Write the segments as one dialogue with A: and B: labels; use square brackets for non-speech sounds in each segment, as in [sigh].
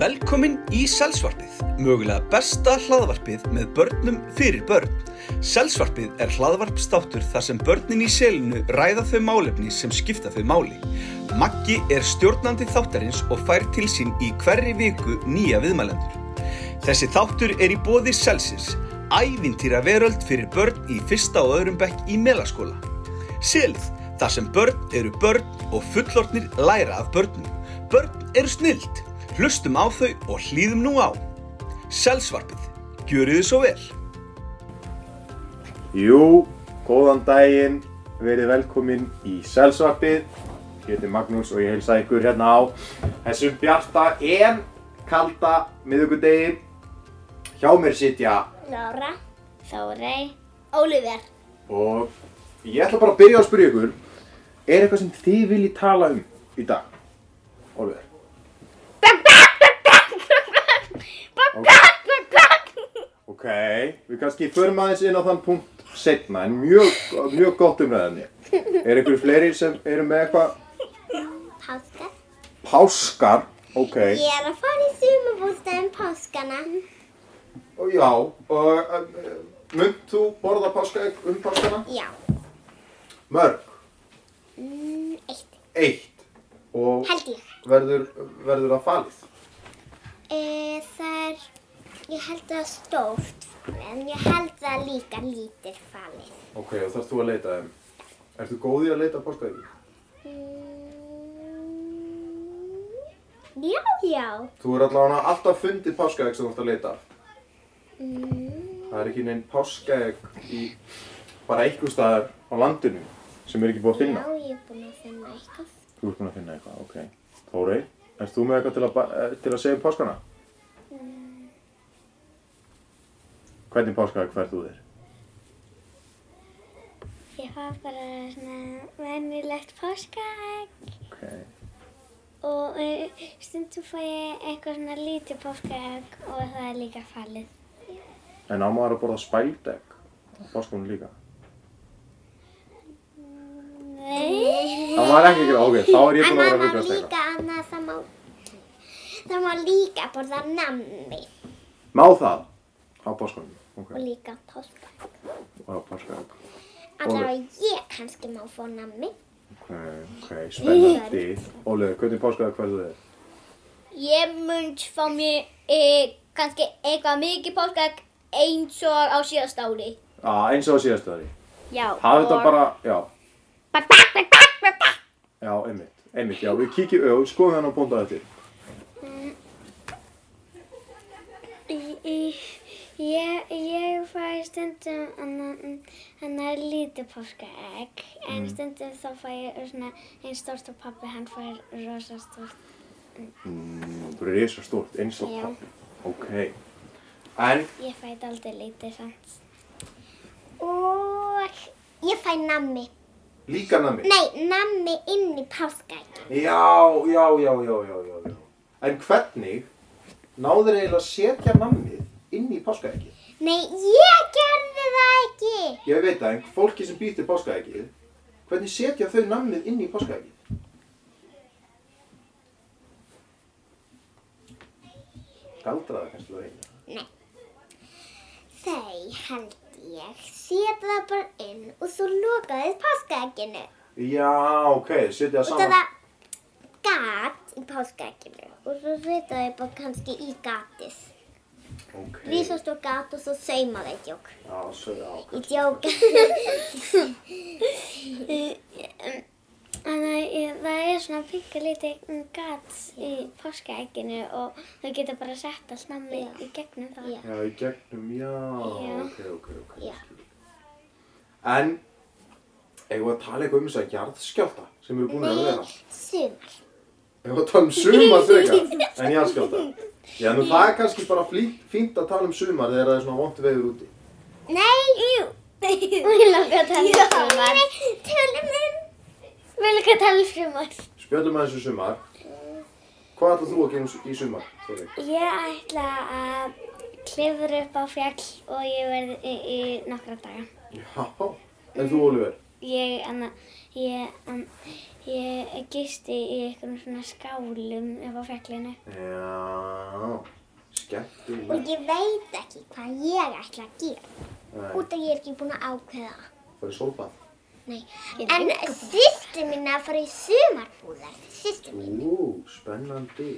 A: Velkomin í Selsvarpið, mögulega besta hlaðvarpið með börnum fyrir börn. Selsvarpið er hlaðvarpstáttur þar sem börnin í selinu ræða þau málefni sem skipta þau máli. Maggi er stjórnandi þáttarins og fær til sín í hverri viku nýja viðmælendur. Þessi þáttur er í bóði Selsins, ævintýra veröld fyrir börn í fyrsta og öðrum bekk í melaskóla. Selið, þar sem börn eru börn og fullornir læra af börnum. Börn eru snild. Hlustum á þau og hlýðum nú á. Selsvarpið, gjörið þið svo vel.
B: Jú, góðan daginn, verið velkomin í Selsvarpið. Ég heiti Magnús og ég heilsa ykkur hérna á þessum bjarta en kalda miðugudegi. Hjá mér sitja
C: Lára, Þórey, Óliver.
B: og ég ætla bara að byrja að spyrja ykkur. Er eitthvað sem þið viljið tala um í dag? Oliver. Ok, við kannski förum aðeins inn á þann punkt setna, en mjög, mjög gott umræðinni. Er ykkur fleiri sem eru með eitthvað
C: Páskar.
B: páskar? Ok.
C: Ég er að fara í sumabústæðin páskana.
B: Og Já, og uh, mynd þú borða páskaegg um páskana?
C: Já.
B: Mörg,
C: Mm, eitt.
B: eitt og
C: Held ég.
B: verður, verður það falið.
C: E, það er, ég held það stórt, en ég held það líka lítið falið.
B: Ok, og þarfst þú að leita þeim. Ertu góð í að leita páskaegg?
C: Mm, já, já.
B: Þú er allavega alltaf fundið páskaegg sem þú ert að leita. af.
C: Mm,
B: Það er ekki neinn páskaegg í bara einhver staðar á landinu sem er ekki búið að
C: já,
B: finna.
C: ég er búin að finna eitthvað.
B: Þú ert búin að finna eitthvað, ok. Þórey, erst þú með eitthvað til að, ba- eh, til að segja um páskana?
C: Mm.
B: Hvernig páskaegg færð þú þér?
C: Ég var bara svona venjulegt páskaegg.
B: Okay.
C: Og eh, stundum fæ ég eitthvað svona lítið páskaegg og það er líka fallið.
B: En á maður að borða spældegg á páskunum líka?
C: Nei.
B: Það var ekki ekki, ok, þá er ég
C: En
B: búin að
C: það
B: vera að
C: má
B: viklast eitthvað.
C: líka annað, það má, það má líka borða nammi
B: Má það? Á páskunum, ok.
C: og líka páskaegg.
B: Og á páskaegg.
C: Allavega ég kannski má fá nammi.
B: Ok, ok, spennandi. Óliður, hvernig páskaegg hverðu þið?
D: Ég mun fá mér e, kannski eitthvað mikið páskaegg eins og á síðast ári. [laughs]
B: Á, eins og á síðastu þari.
D: Já.
B: Það er þetta
D: og-
B: bara, já,
D: Bak, bak, bak, bak, bak, bak.
B: já, einmitt, einmitt, já, við kíkjum, já, við skoðum hennar bónda eftir.
C: Í- í- Ég, ég fæ stundum annan, annan lítið páskaegg en
B: Mm.
C: stundum þá fæ ég svona einn stórt og pappi hann fær rosa stórt.
B: Mm, þú eru risa stórt, eins og
C: Já.
B: pappi. Ok. En,
C: Ég fæ aldrei lítið samt. Og ég fæ nammi.
B: líka nami.
C: Nei, nammi inn í páskaegg.
B: Já, já, já, já, já, já, já. En hvernig náður eiginlega að setja nammið inn í páskaeggi?
C: Nei, ég gerði það ekki.
B: Ég veit það, en fólki sem býtir páskaeggið, hvernig setja þau nammið inn í páskaeggið? Galdra það kannski það einu.
C: Þau held ég setja það bara inn og svo lokaði páskaegginu.
B: Já, ok, setja það
C: Og
B: saman.
C: það gat í páskaegginu. Og svo setja það bara kannski í gatið.
B: Ok.
C: Rísast og gat og svo saumaði ég djók.
B: Já, svo, já, ok.
C: Ég djók. Þannig að það er svona pinka lítið gat í páskaegginu og þau getur bara sett allt nammi í gegnum það. Já.
B: Já, í gegnum, já,
C: Já.
B: ok, ok, ok.
C: Já.
B: skil. En, eigum við að tala eitthvað um þess að jarðskjálta sem eru búin að vera?
C: Nei, sumar.
B: Ég var að tala um sumar frekar
C: [laughs]
B: en jarðskjálta. Já, nú það er kannski bara flí- fínt að tala um sumar þegar það er svona vont veður úti.
C: Nei, jú. Við langar að tala um sumar. Nei, tölum um. Við langar að tala um sumar.
B: Spjöllum aðeins um sumar. Hvað ætlað þú að gera um s- í sumar? Sorry.
C: Ég ætla að klifra upp á fjall og ég verði í, í nokkra daga.
B: Já, en þú Oliver?
E: ég, anna, ég, anna, ég gisti í einhvern svona skálum upp á fjallinu.
B: Já, skemmtilegt.
C: Og ég veit ekki hvað ég ætla að gera.
B: Það
C: Út af ég er ekki búin að ákveða.
B: er sólbað.
C: Nei. En sýstu mín er að fara í sumarbúðar. Sýstu mín.
B: Ú, spennandi.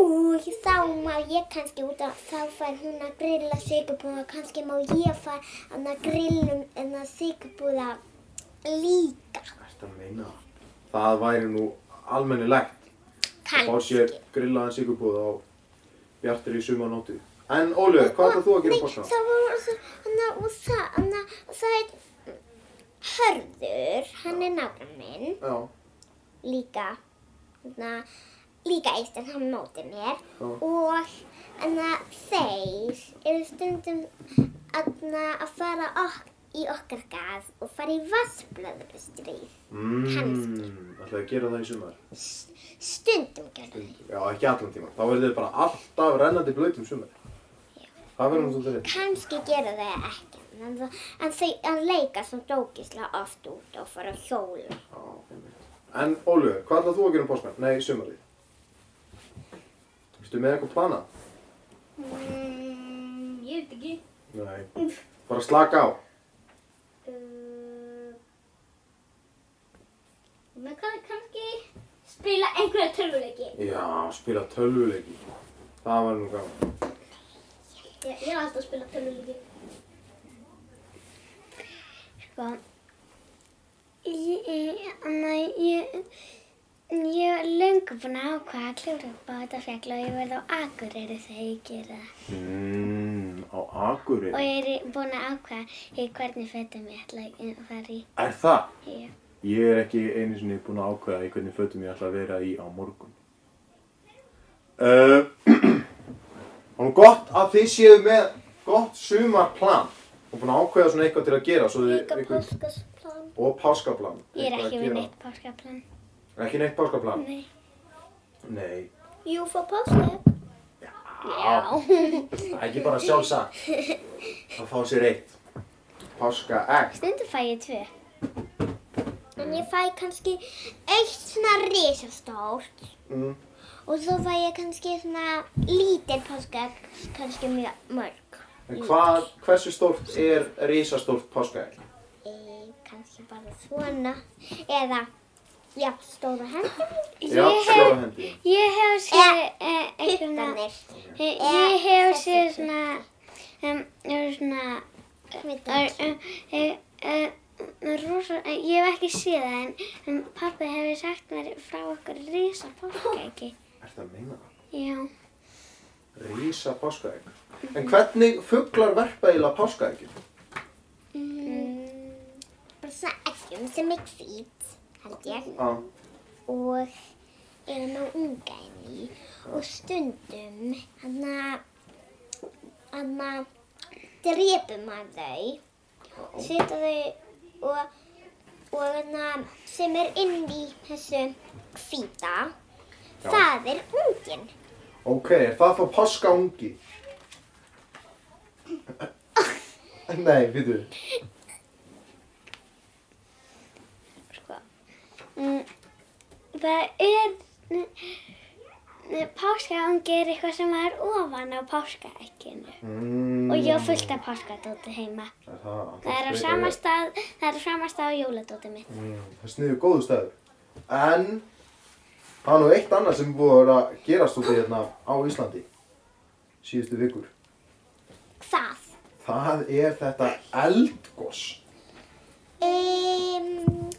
C: Og þá má ég kannski út að þá fær hún að grilla sigurbúða. Kannski má ég fara að grillum en að sigurbúða líka.
B: Þetta meina. Það væri nú almennilegt að fá
C: Kannski.
B: sér grillaðan sigurbúð á bjartir í sumanóttu. En Ólu, hvað ætlað þú að gera á páskana?
C: það var það, hana, og það, hana, það er Hörður, hann er nágrinn minn,
B: Já,
C: líka, hana, líka eist en hann móti mér.
B: já,
C: Og hana, þeir eru stundum hana, að fara ok í okkar gað og fara í vassblöðrustríð.
B: Mm, ætlaðu að gera það í sumar?
C: Stundum gerðu þau.
B: Já, ekki allan tíma. Þá verður þið bara alltaf rennandi blöytum sumar. Það verður nú svolítið rétt.
C: Kanski gera þau ekki, en, það- en þau að leika sem dókislega oft út og fara að hjóla.
B: Já, einmitt. En Ólu, hvað ætlað þú að gera um páskana? Nei, sumarið. Vistu með eitthvað plana?
D: Mm, ég veit ekki.
B: Nei. Bara slaka á.
D: Uh, með hvað kannski spila einhverja tölvuleiki.
B: Já, spila tölvuleiki. Það var nú gaman.
D: Ég, ég er alltaf að spila tölvuleiki.
E: Sko, ég, ég- anna, ég, ég er löngu búin að ákvaða að kljóra upp á þetta fjall og ég verði á Akureyri þegar ég gera það.
B: Mm, á
E: Og
B: Akureyri.
E: ég er búin að ákvaða í hvernig fötum ég ætla að fara í.
B: Er það?
E: Já.
B: Ég er ekki einu sinni búin að ákveða í hvernig fötum ég ætla að vera í á morgun. Uh, [clears throat] og gott að þið séu með gott sumarplan og búin að ákveða svona eitthvað til að gera svo þið,
C: Líka páskasplan.
B: og páskaplan.
E: Ég er
B: Eitthvað
E: ekki
B: að
E: með
B: gera.
E: neitt páskaplan.
B: Ekki neitt páskaplan?
E: Nei.
B: Nei.
C: Jú, fá páskaegg.
B: Já. Það er ekki bara sjálfsagt. Það fá sér eitt. Páska egg.
E: Stundum fæ ég tvö.
C: En ég fæ kannski eitt svona risastórt
B: Mm.
C: og svo fæ ég kannski svona lítil páskaegg, kannski mjög mörg.
B: En hvað, hversu stórt er risastórt páska egg?
C: E, kannski bara svona eða já, stóra hendi
B: Já, stóra hendi.
E: Ég hef séð eh, einhvern veginn.
C: Puttanir.
E: Ég hef séð svona, um, um, svona,
C: Puttanir.
E: er, um, eh, eh, rosa, eh, ég hef ekki séð það en um, pappi hefur sagt mér frá okkur risa páskaeggi.
B: Er það að meina það?
E: Já.
B: Rísa páskaegg. En hvernig fuglar verpa eiginlega páskaeggin?
C: Mm, bara svona eggjum sem er hvít, held ég,
B: Já.
C: og eru með unga inn í og stundum hann að hann að drepum að þau setja þau og, og hana, sem er inn í þessu hvíta,
B: Já.
C: það er unginn.
B: Ok, er það þá páskaungi? Nei, býtu.
E: sko. Mm, það er, páskaungi er eitthvað sem er ofan á páskaegginu.
B: Mm.
E: Og ég á fullt af páskadóti heima.
B: Er það,
E: Það er á sama stað, það er á sama stað á jóladóti mitt.
B: Mm, það sniður góðu staður. En það er nú eitt annað sem er búið að vera að gerast út í hérna á Íslandi síðustu vikur.
C: Hvað?
B: Það er þetta eldgos.
C: Um,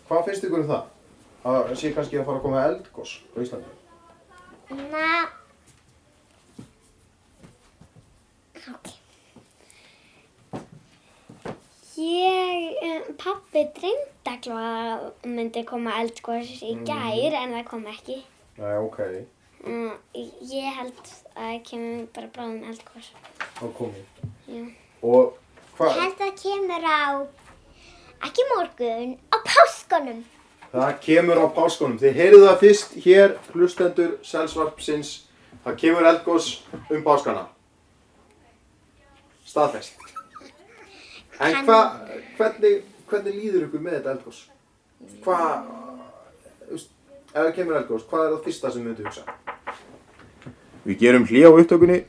B: Hvað finnst ykkur um það? Að sé kannski að fara að koma eldgos á Íslandi?
C: na, ok.
E: Ég, um, pappi dreymdi að það myndi koma eldgós í gær en það kom ekki.
B: Nei, ok.
E: Um, ég held að það kemur bara bráðum eldgós.
B: á komið.
E: Já.
B: Og
C: Ég
B: hvað?
C: held að kemur á, ekki morgun, á páskunum.
B: Það kemur á páskunum. Þið heyrðu það fyrst hér, hlustendur selsvarpsins. Það kemur eldgós um páskana. Staðfest. En
C: Hann-
B: hvað, hvernig, hvernig líður ykkur með þetta eldgós? Hvað, þú veist, ef það kemur eldgós, hvað er það fyrsta sem myndu hugsa? Við gerum hlý á upptökunni.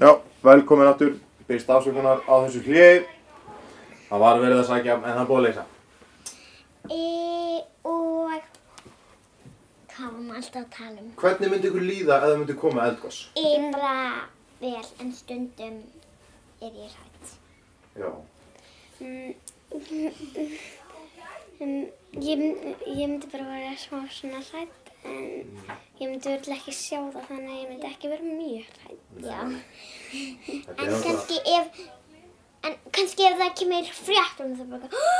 B: Já, velkomin aftur. Byrst afsökunar á þessu hlýi. Það var verið að sækja, en það er búið að leysa.
C: E, og hvað var maður alltaf að tala um?
B: Hvernig myndi ykkur líða ef það myndi koma eldgós?
E: Mm.
C: E, bara vel, en stundum er ég hrætt.
B: Já.
E: Um, ég, mynd- ég myndi bara vera smá svona hrætt en
C: Mm.
E: ég myndi verið ekki sjá það þannig að ég myndi ekki vera mjög hrætt.
C: Já,
B: Þetta
C: en
B: er náttúrulega-
C: kannski ef, en kannski ef það kemur frétt um það
E: [gasps]
C: bara, "Hú,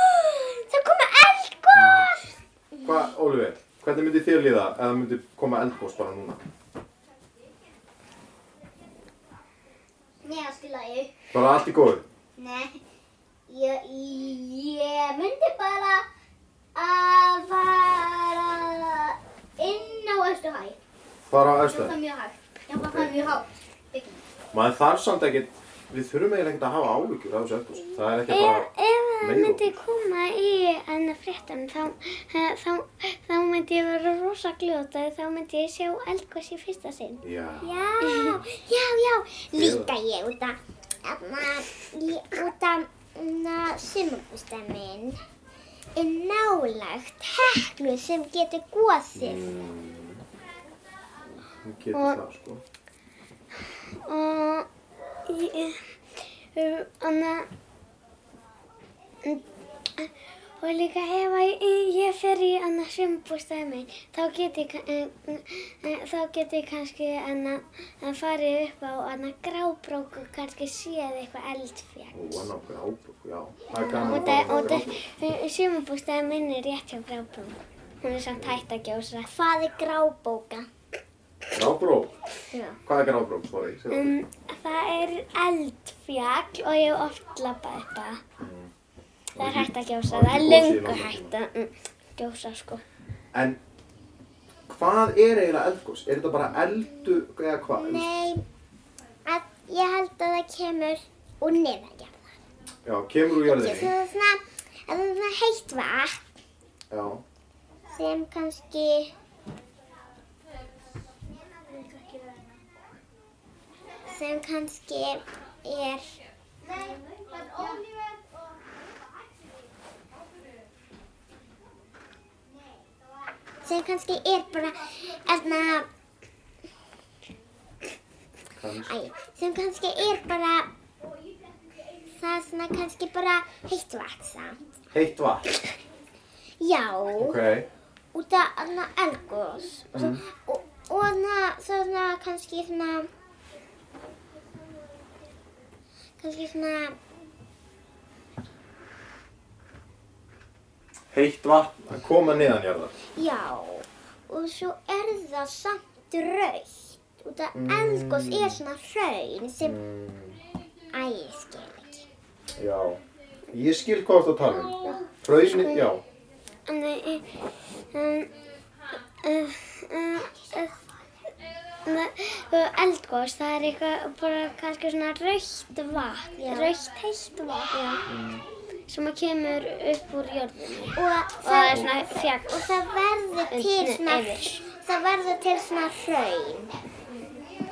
C: það koma eldgóð!
B: Hvað, Óliver, hvernig myndi þér líða ef það myndi koma eldgós bara núna?
D: Nei, allt í lagi.
B: Bara allt í góðu.
D: Nei, ég, ég myndi bara að fara inn á Östuhæ.
B: Bara á
D: Það
B: eftir.
D: er mjög hægt. Já, það er mjög hátt. Bygging.
B: Maður þarf samt ekkert, við þurfum eiginlega ekkert að hafa áhyggjur af þessu eldgós. Það er ekki bara...
E: Ef,
C: Mm.
E: ef það
B: leiðum.
E: myndi koma í enna fréttum þá, eh, þá, þá myndi ég vera rosa gljóta þá myndi ég sjá eldgóðs í fyrsta sinn.
B: Já.
C: Já,
E: [laughs]
C: já, já, líka ég út af, þarna, ég út af,
E: mm,
C: na, sumarbústað minn er nálagt heklu sem getur góðið.
B: Hún getur það, sko.
E: Og ég, anna, og líka ef að ég- ég fer í annað sumbústæði minn, þá get ég, ka- eh, eh, þá get ég kannski anna, að fara upp á anna grábrók og kannski séð eitthvað eldfjall.
B: Ó, hann á grábrók, já. Það er gaman
E: Og
B: að
E: það,
B: fara á
E: og
B: grábrók.
E: það, sumbústæði minn er rétt hjá grábrók. Hún er samt hægt að gjósa.
C: Hvað er grábóka?
B: Grábrók?
E: Já.
B: Hvað er grábrók, sorry? segðu okkur.
E: Um, það er eldfjall og ég hef oft labbað upp að það. Það er hægt að gjósa,
B: Og
E: það er
B: ekki gosið í
E: löngu
B: langan
E: hægt að mm, gjósa sko.
B: En hvað er eiginlega eldgós? Er þetta bara eldu eða hvað?
C: Nei, að, ég held að það kemur úr neðanjarðar.
B: Já, kemur úr jörðinni.
C: Það er svona, að það er svona heitt vatn
B: Já.
C: sem kannski, sem kannski er, sem kannski er bara, erna,
B: Kanns-
C: Æ, sem kannski er bara það er svona kannski bara heitt vatn samt.
B: Heitt vatn.
C: Já,
B: Ok.
C: út af þarna elgos og svo- og- og þarna svona kannski svona kannski svona
B: Heitt vatn að koma neðanjarðar.
C: já og svo er það samt raukt út af elgos er svona hraun sem
B: Mm.
C: æ, ég skil ekki
B: Já. Ég skil hvað þú ert að tala um. Hraunni, já.
E: En, eh, um, uh, uh, uh, uh, eldgós, það er eitthvað bara kannski svona raukt vatn,
C: Já.
E: raukt heitt vatn, já, sem að kemur upp úr jörðinni
C: og
E: og það er
C: það,
E: svona
C: og
E: fjall.
C: það verður til
E: Undir-
C: svona
E: yfir.
C: það verður til svona hraun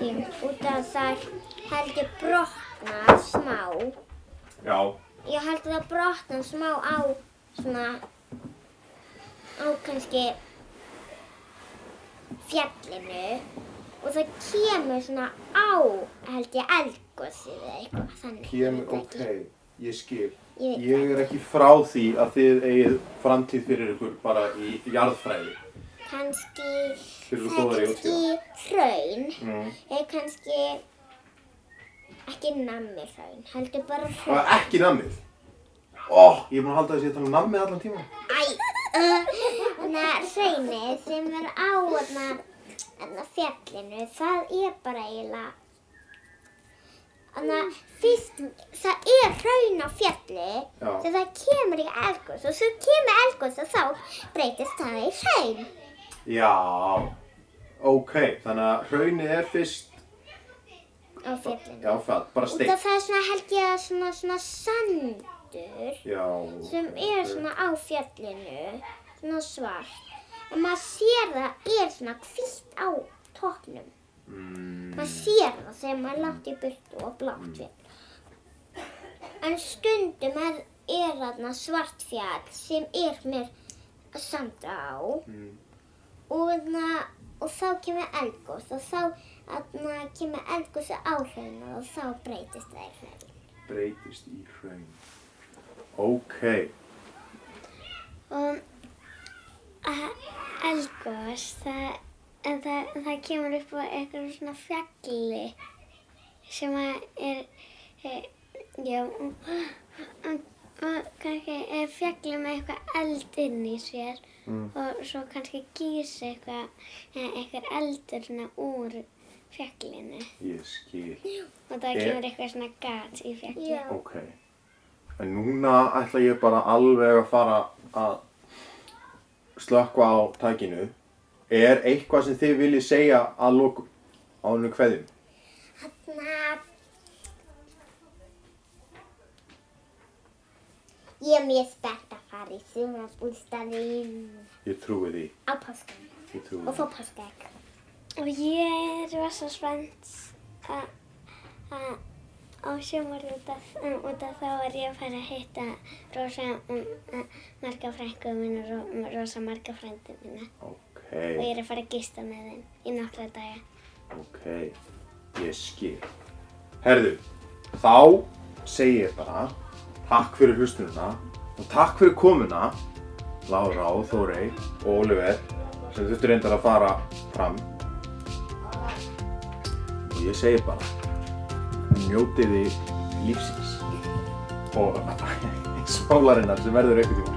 E: Já.
C: út af það heldur brotnar smá.
B: Já.
C: Ég held að það brotnar smá á svona, á kannski fjallinu og það kemur svona á, held ég, eldgósið eða eitthvað
B: Kemur,
C: þannig. Ég veit
B: ok.
C: það ekki.
B: Ég skil.
C: Ég veit
B: Ég er ekki frá því að þið eigið framtíð fyrir ykkur bara í jarðfræði.
C: Kannski,
B: Fyrir þú
C: það
B: góðar
C: er
B: í
C: kannski
B: útskýra.
C: hraun,
B: Mm.
C: eða kannski ekki nammi hraun, heldur bara
B: Það
C: hraun.
B: var ekki nammið. Ó, ég er búin að halda þessi að tala um nammið allan tíma.
C: Æ, þannig að hraunið sem er á þarna þarna fjallinu, það er bara eiginlega, þannig að fyrst, það er hraun á fjalli,
B: Já.
C: þegar það kemur í elgos og svo kemur elgos og þá breytist það í hraun.
B: Já. Ok, þannig að hraunið er fyrst
C: á fjallinu.
B: Já, hvað, bara
C: Út
B: stein.
C: af það er svona held ég að svona, svona sandur
B: Já.
C: sem er svona á fjallinu, svona svart. Og maður sér það er svona hvítt á toppnum.
B: Mm,
C: Maður sér það þegar maður er langt í burtu og blátt fjall. En stundum er, er þarna svart fjall sem er með sand á
B: mm,
C: og, na, og þá kemur eldgós og þá na, kemur eldgós á áhrifinu og þá breytist það í hraun.
B: breytist í hraun. Ok.
E: Og elgós, það, en það, en það kemur upp á einhverjum svona fjalli sem að er, er já, og- og- og kannski er fjalli með eitthvað eld inn í sér
B: Mm.
E: og svo kannski gís eitthvað, eh, einhver eldur svona úr fjallinu
B: Ég skil.
E: og það
B: Eh.
E: kemur eitthvað svona gat í fjalli.
B: Ok. En núna ætla ég bara alveg að fara að slökkva á tækinu. Er eitthvað sem þið viljið segja að lokum á hennu hverðum?
C: Na, ég er mjög spennt að fara í sumarbústaðinn
B: Ég trúi því.
C: á páskan
B: Ég trúi því.
C: og fá páskaegg.
E: Og ég er rosa spennt að- að- á sumar út af, um, út af þá er ég að fara að hitta rosa um, uh, marga frængu mín og ro- rosa marga frændu mína.
B: Ok,
E: Og ég er að fara að gista með þeim í nokkra daga.
B: ok. Ég skil. Herðu, þá segi ég bara takk fyrir hlustununa og takk fyrir komuna Lára og Þórey og Oliver sem þurftu reyndar að fara fram og ég segi bara njótiði lífsins og [laughs] sólarinnar sem verður einhvern tíma